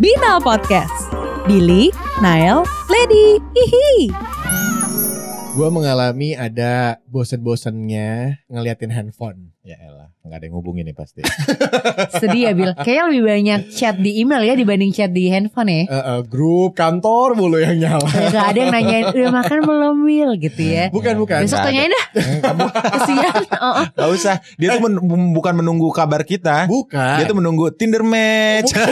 Binal Podcast. Billy, Nael, Lady, hihi. Gue mengalami ada bosen-bosennya ngeliatin handphone. Ya elah, nggak ada yang ngubungin nih pasti. Sedih ya Bil. Kayaknya lebih banyak chat di email ya dibanding chat di handphone ya. Eh, eh, grup kantor mulu yang nyala. Kayak nggak ada yang nanyain udah makan belum Bil gitu ya. Bukan bukan. Besok nggak ada. tanyain dah. Hmm, Kesian. Oh, oh. Gak usah, dia tuh men- m- bukan menunggu kabar kita. Bukan. Dia tuh menunggu Tinder match. Eh,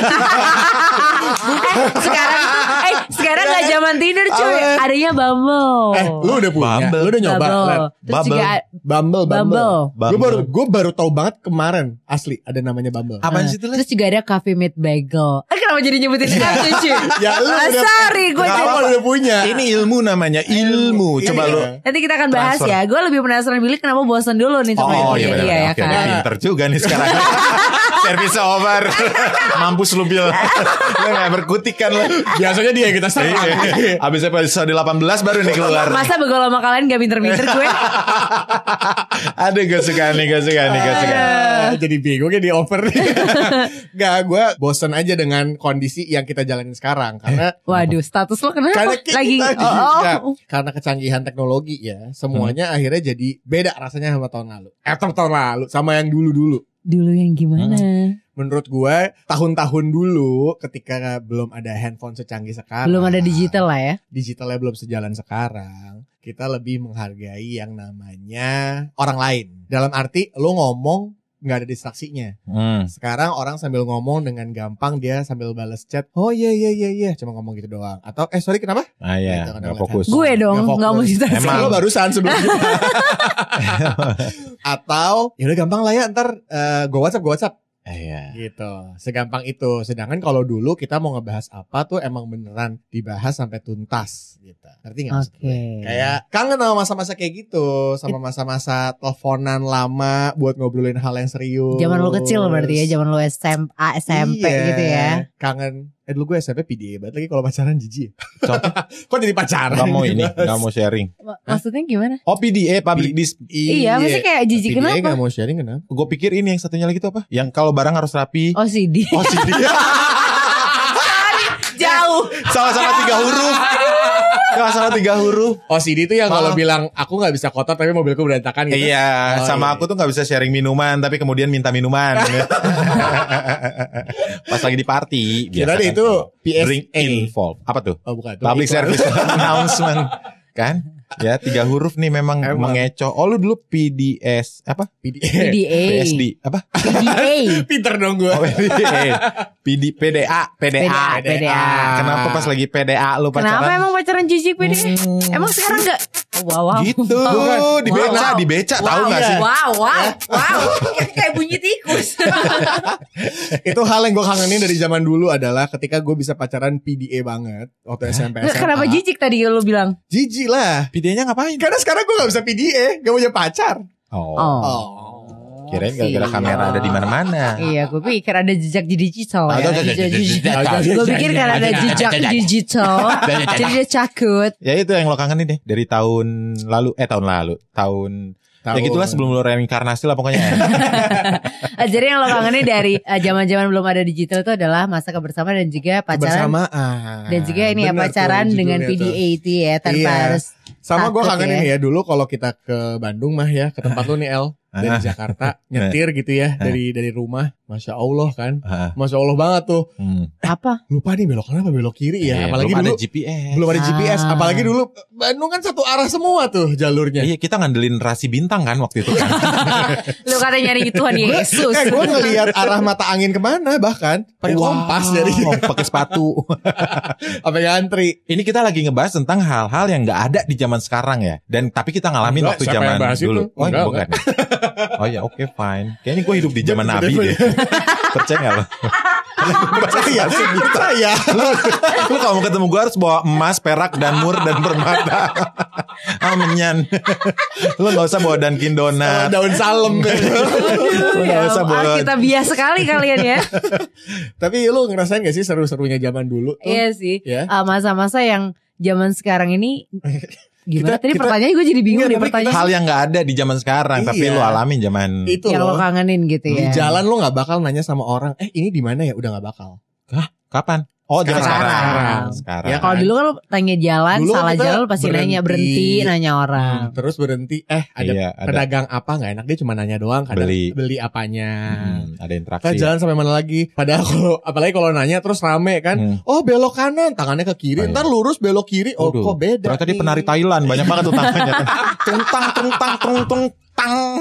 sekarang tuh, eh sekarang nggak zaman Tinder cuy. Apa? Adanya Bumble. Eh, lu udah punya, Oh. Bumble. lu udah nyoba. Bumble. Lan? Terus Bumble. juga Bumble, Bumble. Bumble. Bumble. Gue baru, gue baru tahu banget kemarin asli ada namanya Bumble. Apaan Eh, sih itu Les? Terus juga ada Cafe Meat Bagel. Eh kenapa jadi nyebutin app cuy? ya lu Ah, udah, sorry gue Nggak jadi- apa-apa, lu udah punya. Nah, Ini ilmu namanya, ilmu. Coba Iya. lu. Nanti kita akan bahas Transfer. ya. Gue lebih penasaran Billy kenapa bosan dulu nih sama Oh ini. iya benar. Iya, ya Oke, kan. dia pinter juga nih sekarang. Servis over. Mampus lu Bil. lu gak berkutikan lu. Biasanya dia yang kita serang. Iya. Abis episode 18 baru nih keluar. Masa begol sama kalian gak pinter-pinter gue? Aduh gak suka nih, gak suka nih, gak suka. Ah, jadi bingung ya di over nih. Gak, gue bosen aja dengan kondisi yang kita jalanin sekarang. Eh. Karena Waduh, status lo kenapa? karena kita Lagi di- oh, oh. ya, karena kecanggihan teknologi ya, semuanya akhirnya jadi beda rasanya sama tahun lalu. Eh, sama tahun lalu sama yang dulu-dulu. dulu yang gimana? Hmm. Menurut gue tahun-tahun dulu ketika belum ada handphone secanggih sekarang. Belum ada digital lah ya. Digitalnya belum sejalan sekarang. Kita lebih menghargai yang namanya orang lain. Dalam arti lo ngomong nggak ada distraksinya. Hmm. Sekarang orang sambil ngomong dengan gampang dia sambil balas chat. Oh iya iya iya iya cuma ngomong gitu doang. Atau eh sorry kenapa? Ah Gitu, iya, kadang-kadang. gak fokus. Gua- Gue dong Nggak nggak mau fokus. cerita. Emang. Lo barusan sebelum kita. Atau ya udah gampang lah ya ntar eh, gue WhatsApp gue WhatsApp Iya. gitu. Segampang itu. Sedangkan kalau dulu kita mau ngebahas apa tuh emang beneran dibahas sampai tuntas gitu. Ngerti Iya, nggak? maksud gue? Oke. Kayak kangen sama masa-masa kayak gitu, sama masa-masa teleponan lama buat ngobrolin hal yang serius. Zaman lo kecil berarti ya, zaman lo SMA, SMP Iya, gitu ya. Kangen. Eh dulu gue SMP PDA banget lagi kalau pacaran jijik. ya. Kok jadi pacaran? gitu? Gak mau ini, gak mau sharing. Ma- Maksudnya gimana? Oh PDA, public dis Iya, maksudnya kayak jijik PDA kenapa? gak mau sharing kenapa? Gue pikir ini yang satunya lagi tuh apa? Yang kalau barang harus rapi. Oh sih di Oh, sih dia. jauh. Sama-sama tiga huruf. Sama-sama tiga huruf. OCD itu yang kalau Maaf. bilang aku nggak bisa kotor tapi mobilku berantakan gitu. Iya, Oh, sama iya. aku tuh nggak bisa sharing minuman, tapi kemudian minta minuman. Pas lagi di party, Kira biasa deh kan itu kalau PSA. drink involved. Apa tuh? Oh bukan. Public service announcement, kan? Ya tiga huruf nih memang Emang. mengecoh. Oh lu dulu PDS apa? PDA. PDA. PSD apa? PDA. Pinter dong gue. Oh, PDA. PD PDA, PDA. PDA. Ah. Kenapa pas lagi PDA lu pacaran? Kenapa emang pacaran jijik PDA? Hmm. Emang sekarang gak? Wow, wow. Gitu, Oh, dibeca, wow. dibeca, tahu wow, iya. nggak Iya. sih? Wow, wow, wow. Kayak bunyi tikus. itu hal yang gue kangenin dari zaman dulu adalah ketika gue bisa pacaran PDA banget waktu SMP. Nggak, SMA. Kenapa jijik tadi lu bilang? Jijik lah. PDA-nya ngapain? Karena sekarang gue gak bisa PDA, gak punya pacar. Oh. Kirain gara-gara kamera ada di mana-mana. Iya, gue pikir ada jejak di digital ya. Ada jejak Jejak di digital. digital. Gue pikir karena ada jejak di digital, jadi dia cakut. Ya itu yang lo kangenin deh dari tahun lalu eh tahun lalu tahun, Tahu. ya gitulah sebelum lo reinkarnasi lah pokoknya. Iya. Eh, Jadi yang lo kangenin dari eh, zaman-zaman belum ada digital itu adalah masa kebersamaan dan juga pacaran bersamaan dan juga ini ya Bener tuh pacaran judulnya dengan tuh. PDA itu ya tanpa Iya. harus sama gue Takut kangen ya. ini ya dulu kalau kita ke Bandung mah ya ke tempat lu nih El dari Ah. Eh. Jakarta nyetir gitu ya dari dari rumah masya Allah kan Ah, masya Allah banget tuh hmm. apa? lupa nih belok kanan apa belok kiri ya Eh, apalagi belum dulu ada GPS. belum ada Ah. GPS apalagi dulu Bandung kan satu arah semua tuh jalurnya Iya kita ngandelin rasi bintang kan waktu itu. Lo kata nyari Tuhan Yesus. eh gue ngelihat arah mata angin kemana bahkan pakai kompas dari Oh, pakai sepatu. apa ngantri Ini kita lagi ngebahas tentang hal-hal yang nggak ada di zaman sekarang ya. Dan tapi kita ngalamin Enggak, waktu siapa zaman yang bahas dulu. itu? Oh, Enggak, bukan. oh ya, oke fine. Kayaknya gue hidup di zaman Nabi ya? deh. Percaya nggak lo? percaya percaya lu, lu kalau mau ketemu gue harus bawa emas, perak, dan mur, dan permata. Amanyan. lu gak usah bawa Dunkin Iya, Donat. daun salem Aduh, Nggak ya usah, ampun, Bun. kita biasa sekali kalian ya. tapi lu ngerasain gak sih seru-serunya zaman dulu tuh Iya sih. ya Ah, masa-masa yang zaman sekarang ini gimana Kita- tadi kita- pertanyaannya gue jadi bingung Enggak, deh tapi pertanyaan Hal yang gak ada di zaman sekarang, tapi Iya. lu alamin zaman. itu yang lo loh kangenin gitu di ya jalan lo nggak bakal nanya sama orang eh ini di mana ya udah nggak bakal Kapan? Oh, jangan Sekarang. sekarang. Sekarang. Ya, Kalau dulu kan lo tanya jalan, Dulu salah kita jalan lo pasti nanya berhenti, berhenti. nanya orang. Hmm, terus berhenti eh ada Iya, ada pedagang apa nggak enak dia cuma nanya doang kadang Beli. beli, apanya hmm, ada interaksi. kita jalan sampai mana lagi padahal kalau apalagi kalau nanya terus rame kan Hmm. oh belok kanan tangannya ke kiri Oh, iya. ntar lurus belok kiri oh Waduh, kok beda Ternyata dia nih? penari Thailand, banyak banget tuh tangannya. tung tang tung tang tung tung tang.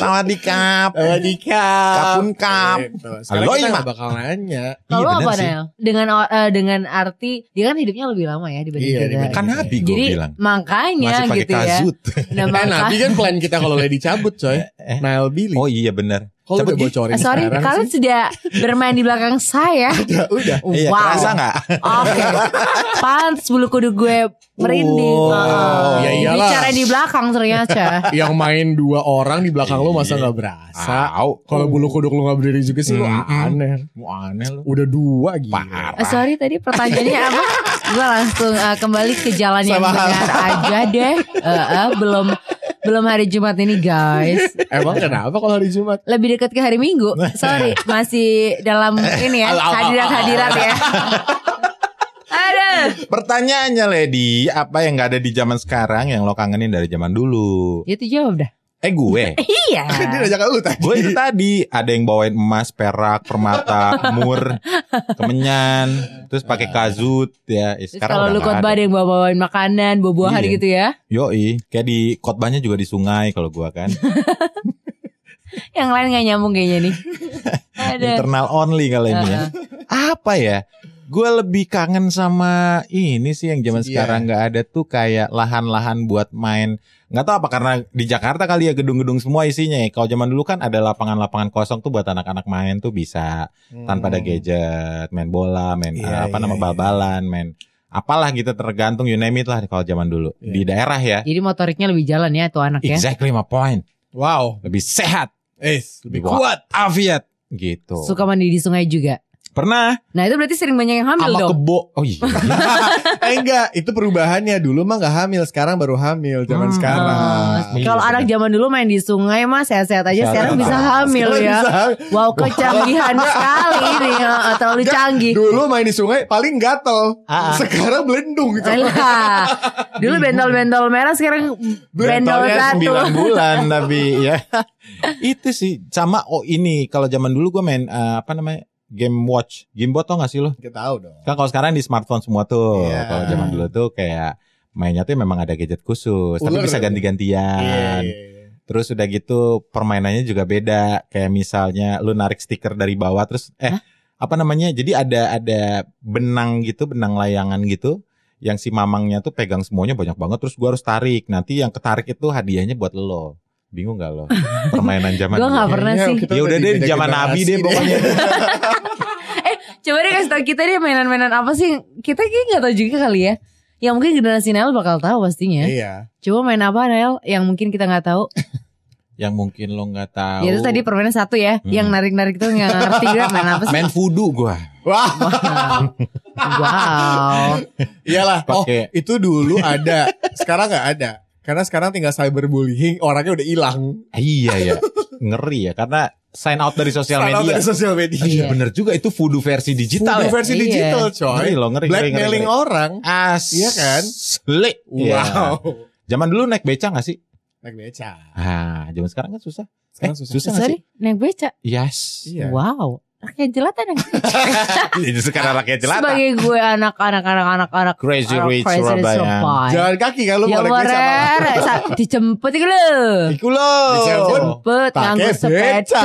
Sama di kap. Eh, di kap Kapun kap. Gitu. Sekarang Halo, kita Ima. nggak bakal nanya Kalau lo Iya, bener apa sih. Nel? Dengan o- eh, dengan arti dia kan hidupnya lebih lama ya dibanding Iya, kita. dibanding- Kan Nabi gue Jadi bilang. makanya Masih pakai gitu ya. kazut. Nah, eh Nabi maka, kan plan kita kalau lady cabut coy Eh, Nile Billy Oh iya benar. kalau cabut udah gih. bocorin Eh, sorry sekarang kalian sih, sudah bermain di belakang saya. udah udah Iya, Wow. kerasa nggak? Oke. Pants bulu kuduk gue merinding. Wow. Heeh. Ya Ini iyalah. cara di belakang ternyata. yang main dua orang di belakang lu masa Iya. nggak berasa Tahu. kalau bulu kuduk lu nggak berdiri juga sih lu Mm-mm. aneh Wah, aneh lu. udah dua gitu Hmm. Parah. Eh, sorry tadi pertanyaannya apa? Gue langsung eh, kembali ke jalan yang Sama hal. benar aja deh. Eh, eh, belum belum hari Jumat ini guys. Emang kenapa kalau hari Jumat? Lebih dekat ke hari Minggu. Sorry, masih dalam ini ya Al- al- al- hadirat-hadirat ya. Aduh. Pertanyaannya Lady, apa yang nggak ada di zaman sekarang yang lo kangenin dari zaman dulu? Ya, Itu jawab dah. Eh gue, Iya. Kan Dia nanya ke lu tadi. gue itu tadi ada yang bawain emas, perak, permata, mur, kemenyan, terus pakai kazut ya. Eh, Terus sekarang kalau udah lu nggak khotbah ada. ada yang bawa-bawain makanan, buah-buahan Iya. gitu ya. Yoi, kayak di khotbahnya juga di sungai kalau gua kan. Yang lain gak nyambung kayaknya nih. Ada. Internal only kalau ini ya. Apa ya? Gue lebih kangen sama ini sih yang zaman Iya. sekarang nggak ada tuh kayak lahan-lahan buat main. Nggak tahu apa karena di Jakarta kali ya gedung-gedung semua isinya. ya. Kalau zaman dulu kan ada lapangan-lapangan kosong tuh buat anak-anak main tuh bisa Hmm. tanpa ada gadget, main bola, main Iya, apa iya, nama iya. bal-balan, main apalah gitu tergantung you name it lah kalau zaman dulu Iya. di daerah ya. Jadi motoriknya lebih jalan ya tuh anak ya. Exactly my point. Wow. Lebih sehat, Eh, lebih lebih kuat. afiat gitu. Suka mandi di sungai juga. Pernah Nah itu berarti sering banyak yang hamil sama dong. kebo. Oh iya. eh enggak, itu perubahannya. Dulu mah nggak hamil, sekarang baru hamil zaman Hmm. sekarang. Ah, Iya, Kalau anak zaman dulu main di sungai mah sehat-sehat aja, Sehat. sekarang bisa hamil Sekarang ya. bisa hamil. Wow kecanggihan sekali ini, heeh, terlalu Enggak, canggih. Dulu main di sungai paling gatel. Ah, ah. Sekarang belendung gitu. Alah. Dulu bentol-bentol merah sekarang bentol Bentolnya satu. 9 bulan tapi ya. Itu sih sama oh ini kalau zaman dulu gue main eh, apa namanya? Game Watch. Game Watch tau gak sih lo? Kita tahu dong. Kan kalau sekarang di smartphone semua tuh. Iya. Kalau zaman dulu tuh kayak mainnya tuh memang ada gadget khusus, tapi Ular. ya? Iya, bisa ganti-gantian. Terus udah gitu permainannya juga beda. Kayak misalnya lu narik stiker dari bawah terus eh apa namanya? Jadi ada ada benang gitu, benang layangan gitu yang si mamangnya tuh pegang semuanya banyak banget terus gua harus tarik. Nanti yang ketarik itu hadiahnya buat lo. Bingung gak lo? Permainan zaman Gua nggak dulu. pernah Kayaknya sih. kita Ya udah di deh beda zaman Nabi generasi deh pokoknya. Coba deh kasih tau kita deh mainan-mainan apa sih? Kita kayak nggak tahu juga kali ya. Yang mungkin generasi Nael bakal tahu pastinya. Iya. Coba main apa Nael yang mungkin kita nggak tahu? yang mungkin lo nggak tahu. Ya itu tadi permainan satu ya, Hmm. yang narik-narik tuh nggak ngerti gue main apa sih? main voodoo gua. Wah, Wow. iyalah. Oh, Pakai- itu dulu ada. Sekarang nggak ada. Karena sekarang tinggal cyberbullying, orangnya udah hilang. Iya ya. Ngeri ya karena sign out dari sosial Sekarang media. dari sosial media. Iya bener juga itu voodoo versi digital Voodoo ya. versi Iya. digital, coy. Ngeri loh, ngeri, ngeri, Blackmailing ngeri, orang. As. Iya kan? Slik. Iya. Wow. Zaman dulu naik beca gak sih? Naik beca. Ah, zaman sekarang kan susah. Sekarang Eh, susah. susah. nggak Sorry, naik beca. Yes. Iya. Wow. Rakyat jelata yang Jadi sekarang rakyat jelata. Sebagai gue anak-anak anak-anak anak Oh, Crazy anak Rich crazy Surabaya. Surabaya. Jalan kaki kan lu Ya mau naik beca malah. warer, sa- dijemput iku lho. Iku lo. Ditelepon. Jemput Pakai nganggo beca. sepeda.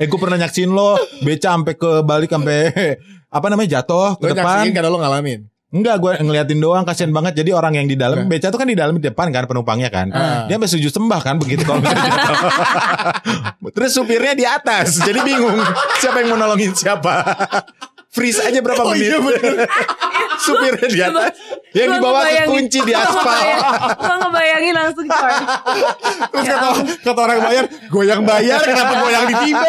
Eh gue pernah nyaksin lo. Beca sampai ke balik sampai apa namanya jatuh Lu ke depan. nyaksiin karena lu ngalamin. Enggak gue ngeliatin doang kasihan banget. Jadi orang yang di dalam beca tuh kan di dalam di depan kan penumpangnya kan. Ah. Dia sampai sujud sembah kan begitu kalau misalnya jatuh. Terus supirnya di atas. Jadi bingung siapa yang mau nolongin siapa. Freeze aja berapa Oh menit. iya bener. supirnya di atas. Yang Gua dibawa ke ngebayangin- kunci di gua aspal. ngebayangin- Gua ngebayangin langsung coy. Terus kata, kata orang bayar, gue yang bayar, kenapa gue yang ditiba?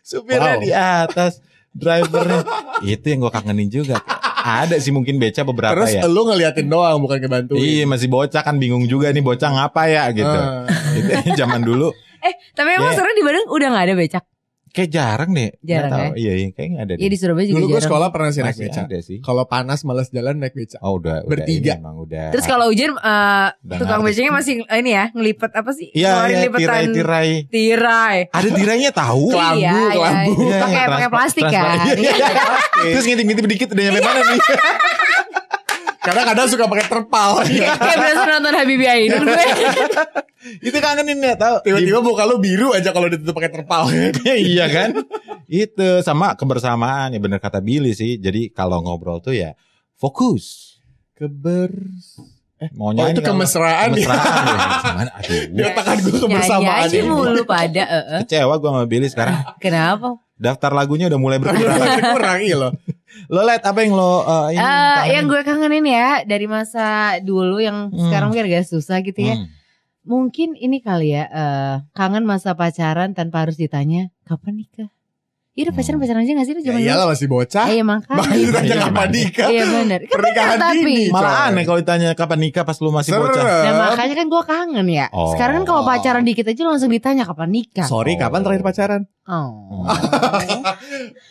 Supirnya Wow. di atas. Drivernya. Itu yang gue kangenin juga. Ada sih mungkin beca beberapa Terus ya. lu ngeliatin doang, bukan Gitu. ngebantuin. Iya masih bocah kan bingung juga nih bocah ngapa ya gitu. Ah. Itu zaman dulu Eh, tapi emang Ya. sekarang di Bandung udah gak ada becak. Kayak jarang deh. Nggak Jarang ya? tahu. Iya, iya ya? kayak nggak ada. Iya di ya? Surabaya juga Dulu gue jarang. sekolah pernah sih naik Masih beca. ada sih. Kalau panas males jalan naik beca. Oh udah, Bertiga. udah ini emang udah. Terus kalau hujan eh, Udah tukang ngerti. becanya masih eh, ini ya ngelipet apa sih? Iya, Ngeluarin iya, lipetan tirai-tirai. tirai. Ada tirainya tahu. Kelambu, Iya, iya, kelambu. iya. Pakai Transpa- pakai plastik kan. transpa- Iya, iya. Terus ngintip-ngintip dikit udah nyampe mana nih? Karena kadang suka pakai terpal. Kayak berasa nonton Habibie Ainun gue. Itu kangenin ya Iya. tahu. Tiba-tiba muka lu biru aja kalau ditutup pakai terpal. iya kan? Itu sama kebersamaan ya bener kata Billy sih. Jadi kalau ngobrol tuh ya fokus. Keber. Eh, mau Oh itu kemesraan. ya. Kemesraan ya. Gimana? Aduh. Di otakan gue kebersamaan. Nyanyi aja ya. mulu pada. eh, eh. Kecewa gue sama Billy sekarang. Kenapa? Daftar lagunya udah mulai berkurang. Kurang iya loh. lo liat apa yang lo eh, ini Eh, kangenin? yang gue kangenin ya dari masa dulu yang Hmm. sekarang mungkin agak susah gitu ya. Hmm. Mungkin ini kali ya eh, kangen masa pacaran tanpa harus ditanya kapan nikah. Iya udah Hmm. pacaran pacaran aja gak sih lu Ya zaman dulu? iyalah masih bocah. Iya makanya. Makanya ditanya Iya, kapan iya. nikah. Iya benar. Kan Pernikahan bener, tapi. dini. Malah aneh kalau ditanya kapan nikah pas lu masih bocah. Nah Serem. makanya kan gue kangen ya. Oh. Sekarang kan kalau pacaran dikit aja langsung ditanya kapan nikah. Sorry, kapan terakhir pacaran? Oh.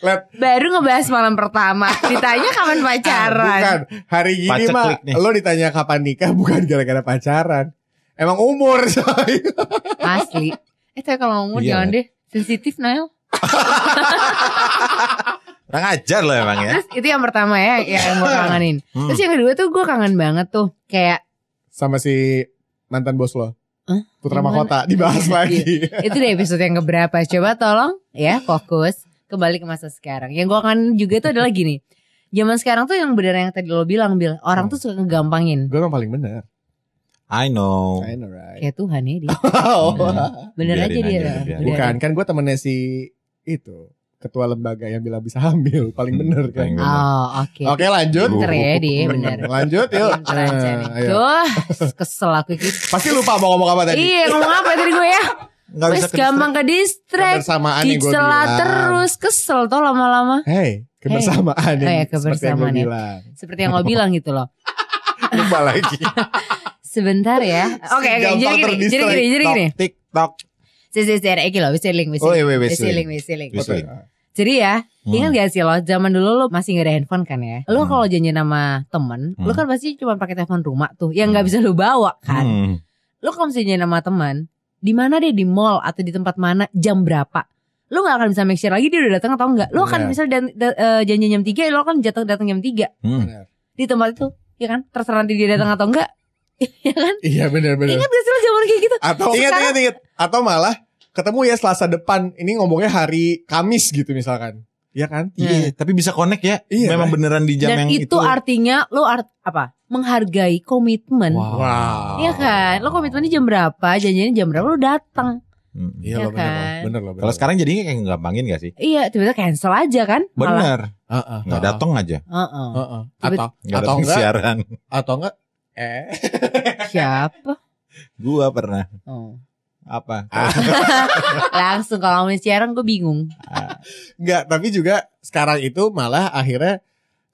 Let- Baru ngebahas malam pertama. Ditanya kapan pacaran. Bukan. Hari gini Paceklik mah nih. lo ditanya kapan nikah bukan gara-gara pacaran. Emang umur soalnya. Asli. Eh tapi kalau umur Iya, jangan deh. Sensitif Nail. Orang ajar lo emang ya. Terus itu yang pertama ya yang, yang gue kangenin. Hmm. Terus yang kedua tuh gue kangen banget tuh kayak Sama si mantan bos lo. Hah? Gimana? Putra Iya. Mahkota dibahas lagi. itu deh episode yang keberapa. Coba tolong ya fokus kembali ke masa sekarang. Yang gue kangen juga tuh adalah gini. Zaman sekarang tuh yang benar yang tadi lo bilang Bil, orang tuh suka ngegampangin. Gue emang paling bener. I know. I know, right? Kayak Tuhan ya dia. Oh. Bener Biarin aja dia. aja, Bener. biarin. Bukan, kan gue temennya si itu. Ketua lembaga yang bilang bisa hamil. Paling bener kan. Paling bener. Oh oke. Oke lanjut. Pinter ya dia, bener. Lanjut yuk. Pinter aja Ah, nih. Eh, ayo. Duh, kesel aku gitu. Pasti lupa mau ngomong apa tadi. Iya ngomong apa tadi gue ya? Nggak Wes gampang ke distract. Kebersamaan yang gue Dicela bilang. terus kesel tuh lama-lama Hey, kebersamaan Hey. Oh yang ya, seperti yang kebersamaan gue ya. bilang. seperti yang lo bilang gitu loh Lupa lagi. sebentar ya oke oke Gampang jadi gini jadi gini jadi gini TikTok. si si si ada iki loh wis link wis Oh, iya, link iya, wis wis link link. wis link Wis link. jadi ya Hmm. ingat gak sih lo zaman dulu lo masih gak ada handphone kan ya lo Hmm. kalau janjian sama temen lo Hmm. kan pasti cuma pakai telepon rumah tuh yang nggak Hmm. bisa lo bawa kan Hmm. lo kalau misalnya janjian sama teman di mana deh di mall atau di tempat mana jam berapa lo gak akan bisa make sure lagi dia udah datang atau enggak lo Iya. Benar. akan misalnya dan, da- eh, janjian jam 3 lo kan jatuh datang jam 3 Hmm. di tempat itu ya kan terserah nanti dia datang atau enggak ya kan Iya benar-benar. ingat gak sih lo zaman kayak gitu Atau Ingat, Sekarang- ingat, ingat. atau malah ketemu ya Selasa depan. Ini ngomongnya hari Kamis gitu misalkan. Iya kan? Iya, tapi bisa connect ya. Iya. Memang beneran di jam Nah. dan yang itu, itu. artinya lo art apa menghargai komitmen Wow. Wow. Iya kan, lo komitmennya jam berapa, janjiannya jam berapa, lo datang. Hmm. Iya Iya lo kan? bener lo. Bener lo. bener Kalau lo. sekarang jadinya kayak nggampangin gak sih? Iya, tiba-tiba cancel aja kan? Malah. Bener. Heeh, Nggak heeh, datang aja. Heeh. heeh. Tiba- Atau Nggak atau datang enggak? siaran. Atau enggak? Eh. Siapa? Gua pernah. Ah, Oh. Apa? Langsung kalau mau siaran gue bingung. Enggak, tapi juga sekarang itu malah akhirnya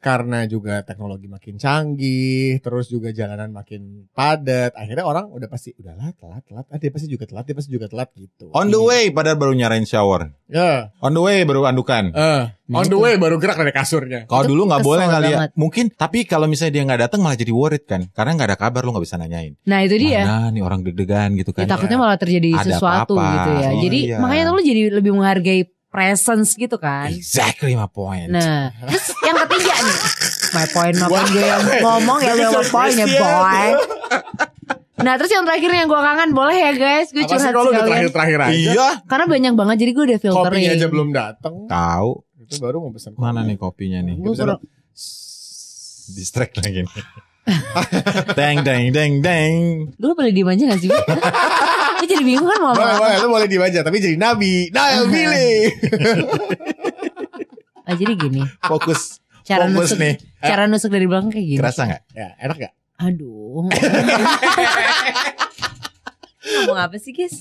karena juga teknologi makin canggih, terus juga jalanan makin padat, akhirnya orang udah pasti udahlah telat, telat, ah, dia pasti juga telat, dia pasti juga telat gitu. On the way padahal baru nyarain shower. Ya, On the way baru andukan. eh, on the way baru gerak dari kasurnya. Kalau Itu dulu nggak kesel boleh kali ya. banget. Mungkin tapi kalau misalnya dia nggak datang malah jadi worried kan. Karena nggak ada kabar lu nggak bisa nanyain. Nah itu dia. Mana nih orang deg-degan gitu Ya, kan. takutnya malah terjadi Ada sesuatu apa-apa. gitu Oh, ya. Iya. Jadi Iya. makanya lo jadi lebih menghargai presence gitu kan. Iya. Exactly my point. Nah, terus yang ketiga nih. My point, my point gue yang ngomong ya, Jadi gue my point ya, surprise boy. Nah, terus yang terakhir yang gue kangen, boleh ya guys, gue Apa sih curhat kalau udah sekalian. terakhir-terakhir aja? Iya. Karena banyak banget, jadi gue udah filtering. Kopinya aja belum datang. Tahu Itu baru mau pesan. kopi. mana nih kopinya nih? Gue kurang- Distract lagi nih. deng deng deng deng. Lu boleh diem aja gak sih? Gue jadi bingung kan mau Boleh, ngomong apa. boleh, lu boleh diem aja, tapi jadi nabi. Nah, pilih. Ah, jadi gini, Fokus. cara Fokus nusuk, nih. cara nusuk dari belakang kayak gini. Kerasa nggak? ya, enak gak? Aduh. ngomong apa sih guys?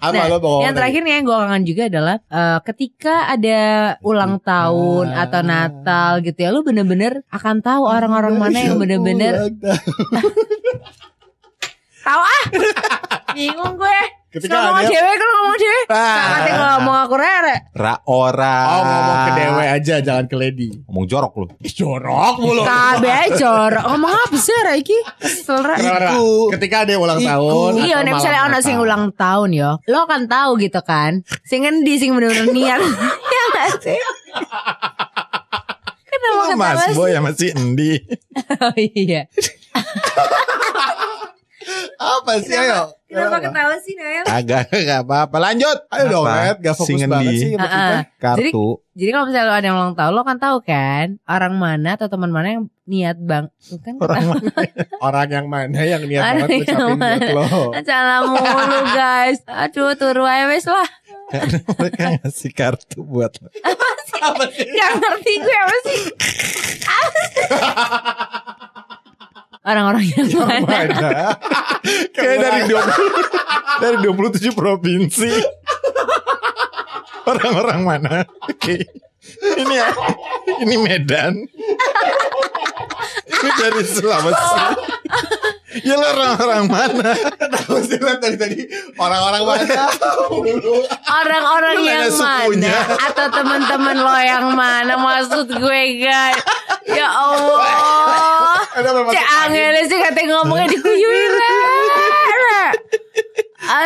Apa Nah, lo mau yang ngomong Oh, tadi? terakhir nih yang gue kangen juga adalah eh, ketika ada ulang tahun Ah. atau Natal gitu ya, lu bener-bener akan Oh, tahu iya, orang-orang mana yang bener-bener Ulang tahun. tahu ah, bingung gue. Ketika Suka ngomong ada cewek Kalau ngomong cewek Ah. Katanya kalau ngomong aku rere Raora. Oh ngomong Ah. ke dewe aja jangan ke lady. Ngomong jorok lu. Ih jorok mulu. Kabe jorok Ngomong apa sih Raiki Kesel Ra. Kenapa? Iku. Ketika ada yang ulang Iku. tahun. Iya, atau nih Iya, malam misalnya ono Natal. sing ulang tahun yo, lo kan tahu gitu kan, sing ngendi sing bener-bener niat, ya nggak sih? Iya, Kenapa Lu ketawa mas sih? boy ya masih endi. Oh iya. Apa sih ayo? Kenapa ketawa sih Nael? Agak gak apa-apa. Lanjut. Ayo dong, Apa? Red, gak fokus Sing banget endi. sih sama Ah, kita. ah. Jadi- Kartu. Jadi kalau misalnya lo ada yang ulang tahun, lo kan tahu kan orang mana atau teman mana yang niat bang, Tuh kan Orang mana? Orang yang mana yang niat Orang banget yang ngucapin buat mana. lo. Salah mulu guys. Aduh turu aja wes lah. Karena mereka kan ngasih kartu buat lo. Apa sih? Gak ngerti gue apa sih. Apa sih? Orang-orang yang Yang mana? mana? Kayak dari 20 dari 27 provinsi. Orang-orang mana? Oke. Ini ya. Ini Medan. ini dari Sulawesi. ya lo orang-orang mana? Tahu sih Red, dari tadi orang-orang mana? Mulu. Orang-orang Lu yang nanya mana sukunya. Atau teman-teman lo yang mana Maksud gue guys Ya Allah Ada berapa Cek sekali? Angel sih katanya ngomongnya dikuyuin Ra.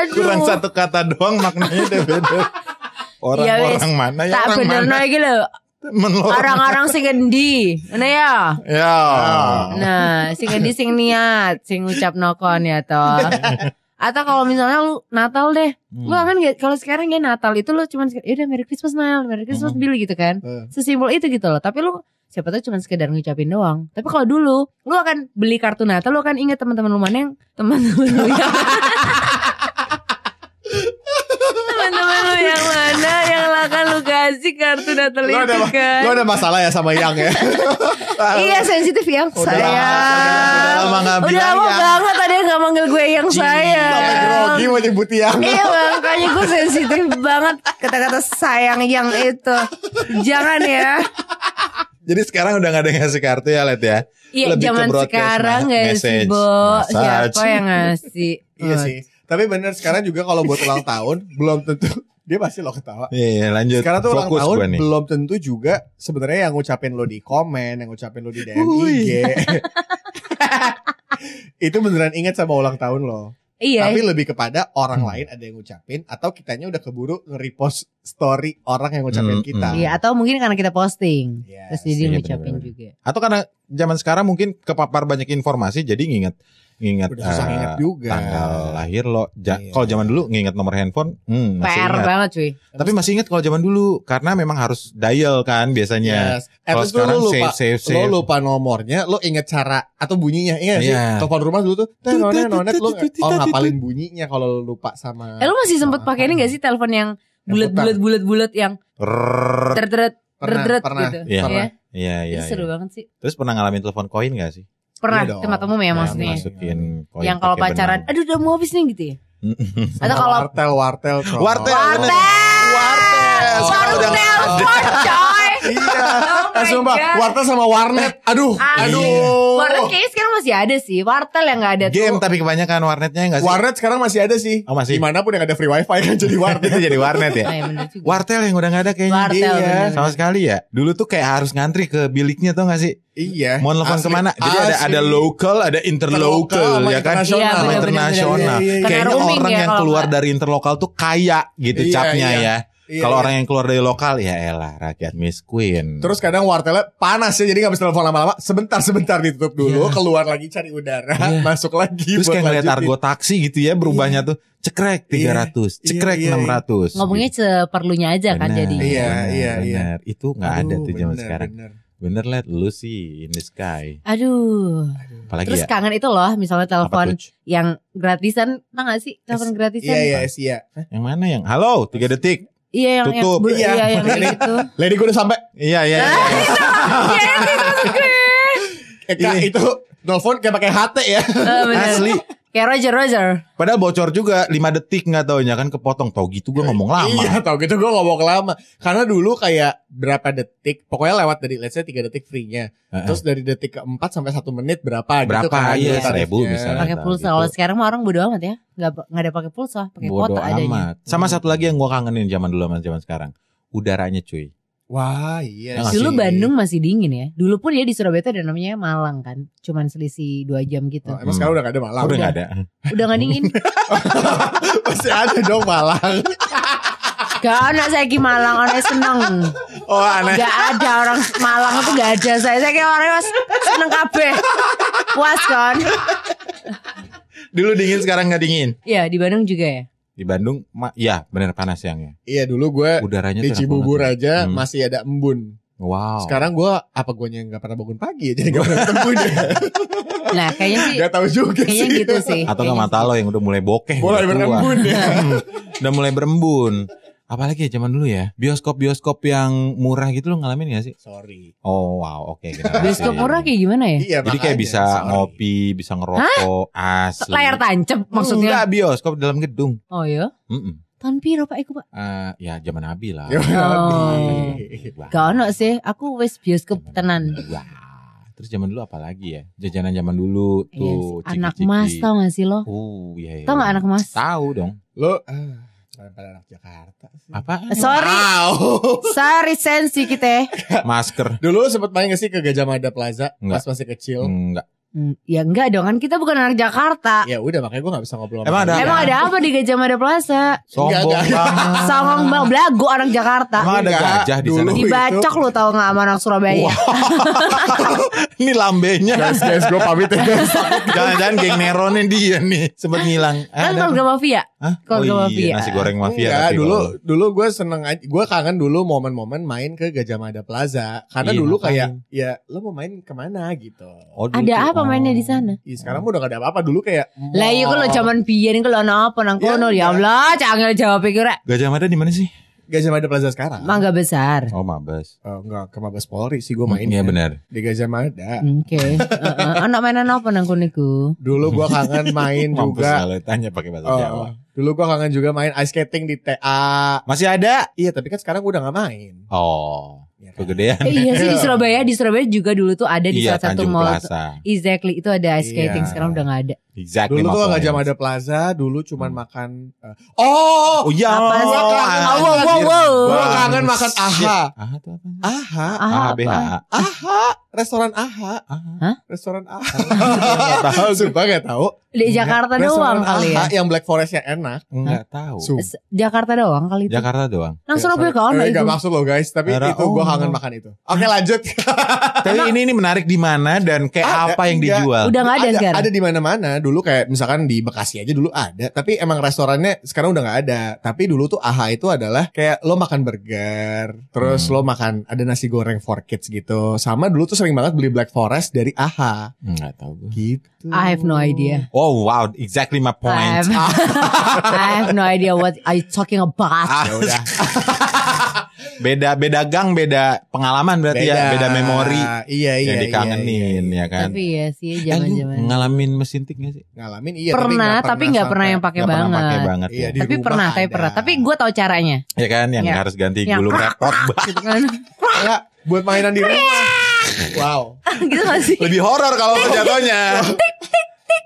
Aduh Kurang satu kata doang maknanya udah beda. Ya Orang-orang wes. mana ya Tak orang bener mana? Oh. no iki lho Temen lo orang- Orang-orang sing ngendi Mana ya Ya. Ah. Nah sing ngendi sing niat Sing ucap nokon ya toh Atau kalau misalnya lu Natal deh Lu Hmm. kan nggak- kalau sekarang ya Natal itu lu cuman sekedar, Yaudah Merry Christmas Nail Merry Christmas Hmm. Billy gitu kan Eh. sesimpel itu gitu loh. Tapi lu siapa tahu cuma sekedar ngucapin doang. Tapi kalau dulu lu akan beli kartu Natal, lu akan ingat teman-teman lu mana yang teman-teman lu yang teman-teman lu yang mana yang akan lu kasih kartu Natal Lu ada, itu kan. lu ada masalah ya sama Yang ya? Ah, Iya sensitif yang Udah saya. lama, udah lama nggak Udah bilang lama yang. banget ada yang nggak manggil gue yang Sampai saya. grogi mau nyebut Yang. Iya makanya gue sensitif banget kata-kata sayang yang itu. Jangan ya. Jadi sekarang udah gak ada yang ngasih kartu ya Let ya Iya Lebih ke zaman broadcast, sekarang nah, gak sih message, Bo massage. Siapa yang ngasih Iya sih. Tapi bener sekarang juga kalau buat ulang tahun belum tentu dia pasti lo ketawa. Iya lanjut Sekarang tuh ulang Fokus tahun gue nih belum tentu juga sebenarnya yang ngucapin lo di komen, yang ngucapin lo di DM Ui. IG. itu beneran ingat sama ulang tahun lo. Iya Tapi lebih kepada orang Hmm. lain ada yang ngucapin atau kitanya udah keburu nge-repost story orang yang ngucapin Hmm, kita. hmm. Iya atau mungkin karena kita posting Yes. Terus jadi iya, ngucapin bener-bener. juga Atau karena zaman sekarang mungkin kepapar banyak informasi jadi nginget nginget Udah susah eh, ingat juga. tanggal lahir lo. Ja- Iya. Kalau zaman dulu nginget nomor handphone, hmm, PR masih ingat. banget cuy Tapi masih inget kalau zaman dulu karena memang harus dial kan biasanya. Yes. Iya. At Kalau least lu sekarang lupa. save, save, Lo save. lupa nomornya, lo inget cara atau bunyinya. Iya sih. Iya. Telepon rumah dulu tuh, Tut, tut, nonet nonet tut, lo tut, tut, oh, tut, ngapalin bunyinya kalau lo lupa sama. Eh lu masih sempet pakai ini gak sih telepon yang bulat-bulat bulat-bulat yang Rrrr. teret-teret Pernah, teret-teret pernah. gitu. Iya. Iya. Iya iya. Itu seru iya. banget sih. Terus pernah ngalamin telepon koin gak sih? Pernah Iya dong. tempat umum ya Iya, maksudnya. masuk. Masukin koin. Yang kalau Oh, iya, pakai pacaran, benang. aduh udah mau habis nih gitu ya. Sama Atau kalau- wartel wartel coy. Wartel. Wartel. Baru Sekarang udah nggak ada. telepon coy. Iya. Oh my Eh, sumpah, God. wartel sama warnet. Aduh, Iya. Ah. aduh. Wartel kayaknya sekarang masih ada sih. Wartel yang gak ada Game tuh. tapi kebanyakan warnetnya gak sih? Warnet sekarang masih ada sih. Oh, masih. Dimanapun yang ada free wifi kan jadi Itu warnet. jadi warnet ya. Ah, iya, bener juga. Wartel yang udah gak ada kayaknya. Wartel, Iya, bener-bener. sama sekali ya. Dulu tuh kayak harus ngantri ke biliknya tau gak sih? iya. Mau telepon Asli. kemana? Jadi ada ada Asli. local, ada Interlokal interlocal, sama ya kan? internasional. Iya, Sama bener-bener, internasional. bener-bener. Iya, Kena Kayaknya roaming ya orang yang kalau keluar nggak. dari interlokal tuh kaya gitu Iya, capnya iya. ya. Iya, Kalau iya. orang yang keluar dari lokal ya elah rakyat Miss Queen. Terus kadang wartelnya panas ya jadi gak bisa telepon lama-lama. Sebentar sebentar ditutup dulu, keluar lagi cari udara, Iya. masuk lagi. Terus buat kayak ngeliat lanjutin. argo taksi gitu ya berubahnya tuh cekrek 300, Iya, cekrek iya, iya. 600. Ngomongnya seperlunya aja kan Bener, jadi. Iya, bener, iya, iya. bener. Itu nggak ada Aduh, tuh zaman bener, sekarang. bener. Bener let lu sih in the sky. Aduh. Apalagi Terus ya. kangen itu loh, misalnya apa telepon tuh? yang gratisan, tau gak sih? Telepon gratisan. Iya, iya, iya. Yang mana yang? Halo, 3 detik. Iya, yang yang Tutup. bu- Iya. iya, yang kayak gitu. Lady gue udah sampai. Iya, iya. iya. Iya, itu maksud gue. Eh, Kak, Iya. itu telepon kayak pakai HT ya. Eh, bener. Asli Kayak Roger Roger. Padahal bocor juga 5 detik nggak taunya kan kepotong. Tau gitu gue ngomong lama. Iya, tau gitu gue ngomong lama. Karena dulu kayak berapa detik, pokoknya lewat dari let's say 3 detik free-nya. Heeh. Terus dari detik keempat sampai 1 menit berapa, gitu Berapa? kan. dulu Iya, tarifnya. 1000 misalnya. Pakai Nah, pulsa. gitu. Kalau sekarang mah orang bodo amat ya. Nggak nggak ada pakai pulsa, pakai Bodoh kuota adanya. Hmm. amat. Sama satu lagi yang gue kangenin zaman dulu sama zaman sekarang. Udaranya cuy. Wah, iya Nah, sih. Dulu Bandung masih dingin ya. Dulu pun ya di Surabaya tuh ada namanya Malang kan. Cuman selisih 2 jam gitu. Oh, emang sekarang udah gak ada Malang. Udah nggak ada. Udah gak dingin. Masih ada dong Malang. gak anak saya ki Malang, orangnya seneng. Oh aneh. Gak ada orang Malang tuh gak ada saya. Saya kayak orangnya mas seneng kabeh. Puas kan? Dulu dingin sekarang nggak dingin. Iya di Bandung juga ya. Di Bandung, ma- ya bener panas siangnya. Iya, dulu gue Udaranya di cerah Cibubur banget. aja Hmm. Oh. masih ada embun. Wow. Sekarang gue apa gue yang gak pernah bangun pagi ya, jadi gak pernah ketemu dia. Nah kayaknya sih Gak tahu juga kayaknya sih. gitu sih. Atau nggak mata lo yang udah mulai bokeh. Mulai udah tua. berembun ya. udah mulai berembun. Apalagi ya zaman dulu ya. Bioskop-bioskop yang murah gitu lo ngalamin gak sih? Sorry. Oh wow oke. generasi. Bioskop murah kayak gimana ya? Iya, Jadi kayak makanya, bisa sorry. ngopi, bisa ngerokok, asli. Layar tancap maksudnya. Enggak bioskop di dalam gedung. Oh iya. Mm-mm. Tahun piro Pak Iku Pak? Eh, ya zaman Nabi lah. Ya, Oh. Nabi. Gak ono sih. Aku wes bioskop Zaman tenan. dulu. Wah, Terus zaman dulu apa lagi ya? Jajanan zaman dulu Iya sih. tuh. Anak ciki-ciki. mas tau gak sih lo? Oh, iya, iya. Tau gak anak mas? Tahu dong. Lo ah, kalian pada anak Jakarta sih. Hmm. Apa? Eh, Sorry. Wow. Sorry sensi kita. Masker. Dulu sempet main gak sih ke Gajah Mada Plaza Enggak. pas masih kecil? Enggak. Hmm, ya enggak dong kan kita bukan anak Jakarta. Ya udah makanya gue gak bisa ngobrol sama Emang ada- kalian. Emang ada apa di Gajah Mada Plaza? Sombong Enggak, enggak. banget. Songong bang, belagu orang Jakarta. Emang ada Enggak, gajah di sana? dulu Dibacok lu tau gak sama orang Surabaya? Ini lambenya. Guys, guys, gue pamit ya guys. Jangan-jangan geng Neronnya dia nih. Sempet ngilang. Eh, Kan Ada. keluarga mafia. Hah? keluarga oh, mafia. iya, nasi goreng mafia. Enggak, tapi dulu kalau- dulu gue seneng gue kangen dulu momen-momen main ke Gajah Mada Plaza karena Iya, dulu makanya. kayak ya lo mau main kemana gitu Oh, dulu tuh, Ada apa oh. mainnya di sana? Ih, sekarang Hmm. mah udah gak ada apa-apa dulu kayak Lah iya kalau zaman biyen kalau ana apa nang kono Iya, ya Allah, cangel jawab iki rek. Gajah Mada di mana sih? Gajah Mada Plaza sekarang Mangga besar. Oh, Mabes. Eh, enggak ke Mabes Polri sih gue main ya. Iya benar. di Gajah Mada Oke. Heeh. Ana mainan apa nang kono iku? dulu gue kangen main Mampus juga kalau tanya pakai bahasa Oh, Jawa. oh. dulu gua kangen juga main ice skating di TA. Masih ada? Iya, tapi kan sekarang gua udah gak main. Oh, Iya kan? kegedean. Eh, iya sih di Surabaya, di Surabaya juga dulu tuh ada di Iya, salah satu Tanjung mall. Plaza. Exactly, itu ada ice skating Iya. sekarang udah gak ada. Exactly. Dulu tuh my gak jam point. ada plaza, dulu cuman Hmm. makan eh, Oh, Oh iya. Apa sih? Oh, Kangen. ah, Oh, wow, wow, wow. gua Bang, kangen makan shit. AHA. AHA itu apa? AHA, Ah, AHA BHA. apa? AHA, restoran AHA, AHA. restoran AHA. Sumpah gak tahu. Di Jakarta doang Restoran kali ya. Iya, AHA yang Black Forest yang enak. Enggak tahu. Sumpah. S- Jakarta doang kali itu. Jakarta doang. Nang Surabaya Sorry. kan Eh, itu. Gak maksud loh guys, tapi Era- itu gua oh. kangen makan itu. Oke, lanjut. Tapi ini ini menarik di mana dan kayak Ada, apa yang enggak. dijual? Ah, Udah gak ada sekarang. Ada di mana-mana. Dulu kayak misalkan di Bekasi aja dulu ada, tapi emang restorannya sekarang udah nggak ada. Tapi dulu tuh AHA itu adalah kayak lo makan burger, terus Hmm. lo makan ada nasi goreng for kids gitu. Sama dulu tuh sering banget beli Black Forest dari AHA Enggak Hmm, tahu gue. gitu. I have no idea. Oh wow, exactly I my have, point. Ah, I have no idea what are you talking about. Ya Ah, udah. beda beda gang, beda pengalaman berarti ya, beda memori Iya iya. yang iya, dikangenin iya, iya. ya kan. Tapi ya sih Eh, lu zaman-zaman. ngalamin mesin tik gak sih? Ngalamin iya. tapi Pernah tapi nggak pernah yang pakai Nggak pernah pakai banget. banget Iya, ya. di Tapi rumah pernah, tapi ada. pernah. Tapi gue tahu caranya. Ya kan yang Iya. harus ganti Yang gulung repot banget. Gitu kan. Enggak, buat mainan di rumah. wow. gitu gak sih? Lebih horor kalau jatuhnya.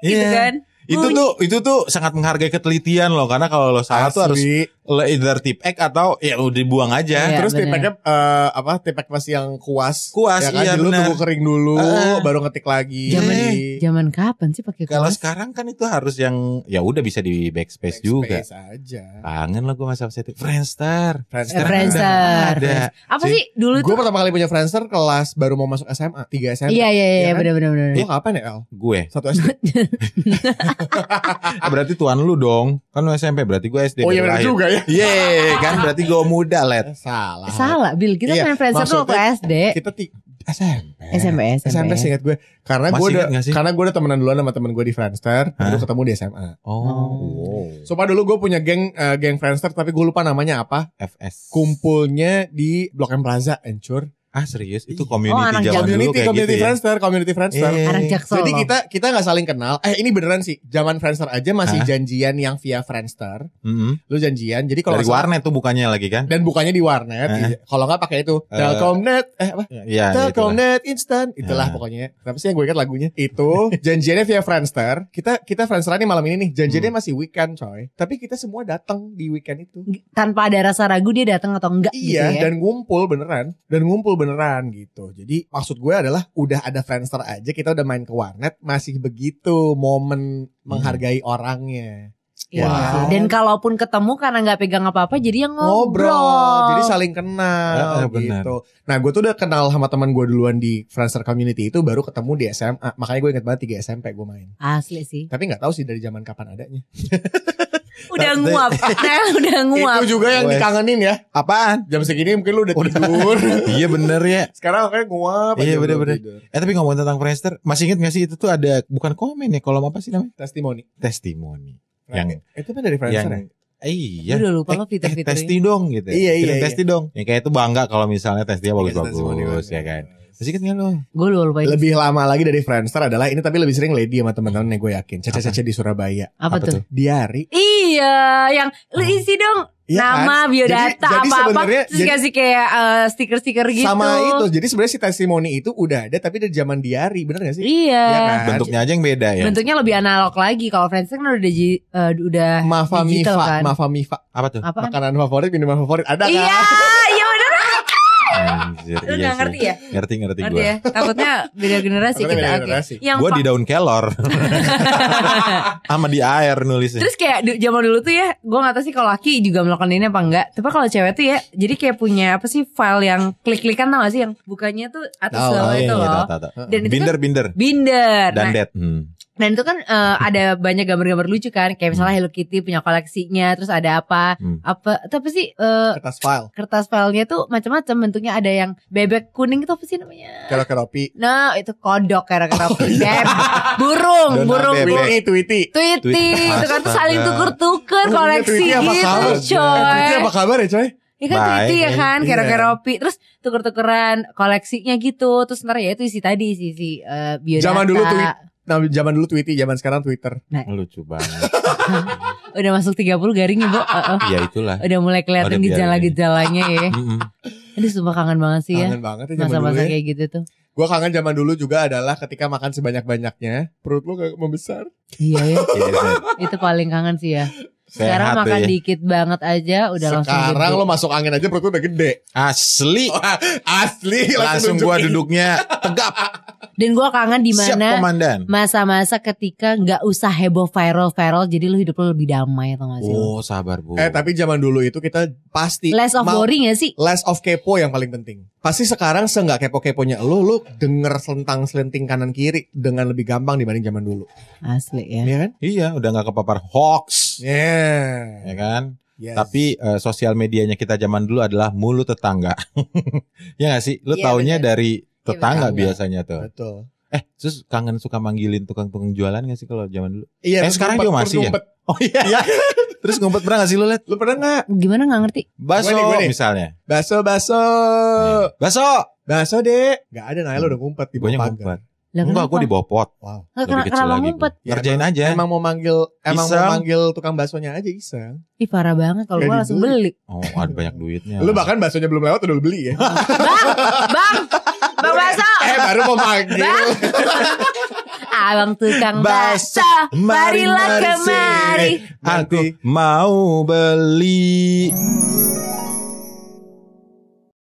Iya. Gitu kan. Itu Bunyi. tuh itu tuh sangat menghargai ketelitian loh karena kalau lo salah tuh harus Asli. lo either tip X atau ya udah dibuang Iya. aja. Nah, Terus bener. tipeknya eh, apa? Tipek masih yang kuas. ya Kuas, kan? iya, Jadi lu bener. tunggu kering dulu, Heeh. baru ngetik lagi. Zaman Jadi- zaman kapan sih pakai Kalau kaos? sekarang kan itu harus yang ya udah bisa di backspace, juga. Backspace aja. Kangen lah gue masa masa itu Friendster. Eh, Friendster. Sekarang kan Friendster. ada. Apa Sih, sih dulu tuh? Gue pertama kali punya Friendster kelas baru mau masuk SMA, 3 SMA. Iya iya Iya iya kan? benar benar benar. Lu kapan ya, El? Gue. Satu SD. Ah, berarti tuan lu dong. Kan lu SMP berarti gue SD. oh iya baru benar lahir. juga ya. Yeay, kan berarti gue muda Eh, let. Oh, Salah. Salah, Bil. Kita Iya, main Friendster tuh maksudnya waktu SD. Kita ti SMP. SMP, SMP SMP. singkat gue Karena Masih gue udah ingat nggak sih? Karena gue udah temenan duluan sama temen gue di Friendster Hah? Baru ketemu di SMA Oh, wow. Sumpah dulu gue punya geng eh, Geng Friendster Tapi gue lupa namanya apa FS. Kumpulnya di Blok M Plaza Encur Ah serius? Iya. Itu community Oh, anak zaman dulu Community, kayak community gitu ya? friendster, community friendster. Eh, Anak jaksel Jadi loh. kita kita nggak saling kenal. Eh ini beneran sih. Zaman friendster aja masih Hah? janjian yang via friendster. mm-mm. Lu janjian. Jadi kalau Dari nggak salah- warnet tuh bukannya lagi kan? dan bukannya di warnet. Hah? iya. Kalau nggak pakai itu Eh. Telkomnet. Eh apa? Iya. itulah. Telkomnet instan. Itulah Ya. pokoknya. Kenapa sih yang gue ingat lagunya? Itu janjiannya via friendster. Kita kita friendsteran nih malam ini nih. Hmm. Janjiannya masih weekend coy. Tapi kita semua datang di weekend itu. tanpa ada rasa ragu dia datang atau enggak Iya, gitu ya. dan ngumpul beneran, dan ngumpul beneran gitu. Jadi maksud gue adalah udah ada Friendster aja, kita udah main ke warnet, masih begitu momen menghargai orangnya. Iya Wow. sih. Dan kalaupun ketemu karena nggak pegang apa-apa jadi yang ngobrol. Ngobrol, jadi saling kenal Eh, eh, bener. gitu. Nah, gue tuh udah kenal sama teman gue duluan di Friendster Community itu, baru ketemu di SMA. Makanya gue inget banget 3 SMP gue main. Asli sih. Tapi nggak tahu sih dari zaman kapan adanya. Udah Tapi- nguap. Nah, udah nguap. Itu juga yang Wes. dikangenin ya. Apaan? Jam segini mungkin lu udah tidur. Iya bener ya. Sekarang kayak nguap. aja Iya, belum bener-bener. tidur. Eh tapi ngomongin tentang Friendster, masih inget gak sih itu tuh ada bukan komen ya kolom apa sih namanya? Testimoni. Testimoni. Yang- itu kan dari Friendster. ya? yang eh, iya. Udah lupa Eh, lo eh, fitur-fiturnya. testi dong gitu. Iya, iya, Kirim iya. Testi dong. Ya kayak itu bangga kalau misalnya tesnya bagus-bagus Bagus-bagus ya kan. Masih inget gak lo? Nah, Gue lupa itu. Lebih lama lagi dari Friendster adalah ini tapi lebih sering lady sama teman-teman yang gue yakin. Caca-caca di Surabaya. Apa, apa tuh? tuh? Diari. Iya, yang lu isi dong Nah. Iya kan? nama, biodata, Jadi- jadi apa-apa. sebenarnya- Terus jadi- kasih kayak eh, stiker-stiker gitu. Sama itu. Jadi sebenarnya si testimoni itu udah ada tapi dari zaman diari, bener gak sih? Iya. Iya kan? Bentuknya aja yang beda ya. Bentuknya lebih analog lagi. Kalau Friendster kan udah di- eh, udah Mafa digital Mifa, kan. Mafa Mifa. Apa tuh? apa? kan? Makanan favorit, minuman favorit ada kan? Iya, iya bener. Anjir, Lu iya udah sih. ngerti ya? Ngerti ngerti Ngerti gue. ya? Takutnya beda generasi kita. Iya. Takutnya beda oke. generasi. Yang Gue pa- di daun kelor sama di air nulisnya. Terus kayak du- zaman dulu tuh ya, gue gak tahu sih kalau laki juga melakukan ini apa enggak. Tapi kalau cewek tuh ya, jadi kayak punya apa sih file yang klik-klikan tau gak sih yang bukannya tuh atas Tahu, bawah iya, itu iya, loh. tahu, tahu, tahu. Dan itu Binder kan binder binder. dan Hmm. Nah, dead. Hmm. dan itu kan eh, ada banyak gambar-gambar lucu kan, kayak misalnya Hello Kitty punya koleksinya, terus ada apa Hmm. apa tapi sih eh, Kertas file. kertas filenya tuh macam-macam bentuknya ada yang bebek kuning itu apa sih namanya? Kero-keropi. Nah, itu kodok kayak Oh, iya. burung, Dona burung, bebek. burung. Tweety, tweety. Tweety, Tweety. itu kan tuh saling Astaga. tuker-tuker Oh, iya, koleksi Tweety apa gitu kabar? Eh, coy. tweety apa kabar ya coy? Ya kan Baik, Tweety ya kan, iya. kero-keropi. Terus tuker-tukeran koleksinya gitu. Terus ntar ya itu isi tadi, isi, isi eh, biodata. Zaman dulu tweet. Nah, zaman dulu tweety, zaman sekarang twitter. Oh, Lucu banget. Udah masuk 30 garing ya, Bu. Eh, eh. Iya. ya itulah. Udah mulai kelihatan Udah biarin gejala-gejalanya ya. Mm-mm. Aduh sumpah kangen banget sih ya. Kangen banget ya zaman dulu Masa-masa ya. kayak gitu tuh. Gue kangen zaman dulu juga adalah ketika makan sebanyak-banyaknya, perut lu gak membesar. Iya ya, Iya, iya. itu paling kangen sih ya. Sehat Sekarang tuh makan ya. dikit banget aja udah langsung Sekarang gede. lo masuk angin aja perut lu udah gede. Asli. Asli. Langsung Oh, iya, gua nunjukin. duduknya tegap. Dan gua kangen di Siap mana komandan. masa-masa ketika nggak usah heboh viral-viral jadi lu hidup lu lebih damai tau gak sih lu? Oh sabar bu. Eh tapi zaman dulu itu kita pasti less of mau- worry gak sih Less of kepo yang paling penting. Pasti sekarang seenggak kepo-keponya lo, lo denger selentang-selenting kanan kiri dengan lebih gampang dibanding zaman dulu. asli ya Iya kan? Iya udah nggak kepapar hoax. Yeah. Ya kan. Iya. Yes. Tapi eh, sosial medianya kita zaman dulu adalah mulut tetangga. ya gak sih? Lu Iya, taunya bener. dari tetangga bener. biasanya tuh. betul. Eh, terus kangen suka manggilin tukang-tukang jualan gak sih kalau zaman dulu? Iya, Eh, terus sekarang ngumpet, juga masih terus ya? ngumpet. Oh iya. terus ngumpet pernah gak sih lu liat? Lo pernah nggak? gimana nggak ngerti Baso Gua nih, gua nih. misalnya. Baso, baso, Eh, Nah, Baso. baso deh. Gak ada Nail udah ngumpet di Guanya bawah ngumpet. pagar. lah Enggak, kenapa gue di bopot. Wow. Nggak, Lebih kena- kecil kenapa lagi. gua. ngumpet Ya, Ngerjain aja. Emang mau manggil, emang Iseng. mau manggil tukang baksonya aja iseng. ih parah banget kalau Nggak gue langsung beli dibeli. Oh, ada banyak duitnya. Lu bahkan baksonya belum lewat udah lu beli ya. bang bang bang baso eh baru mau manggil. abang tukang Baso, baso mari, marilah mari, kemari Aku mau beli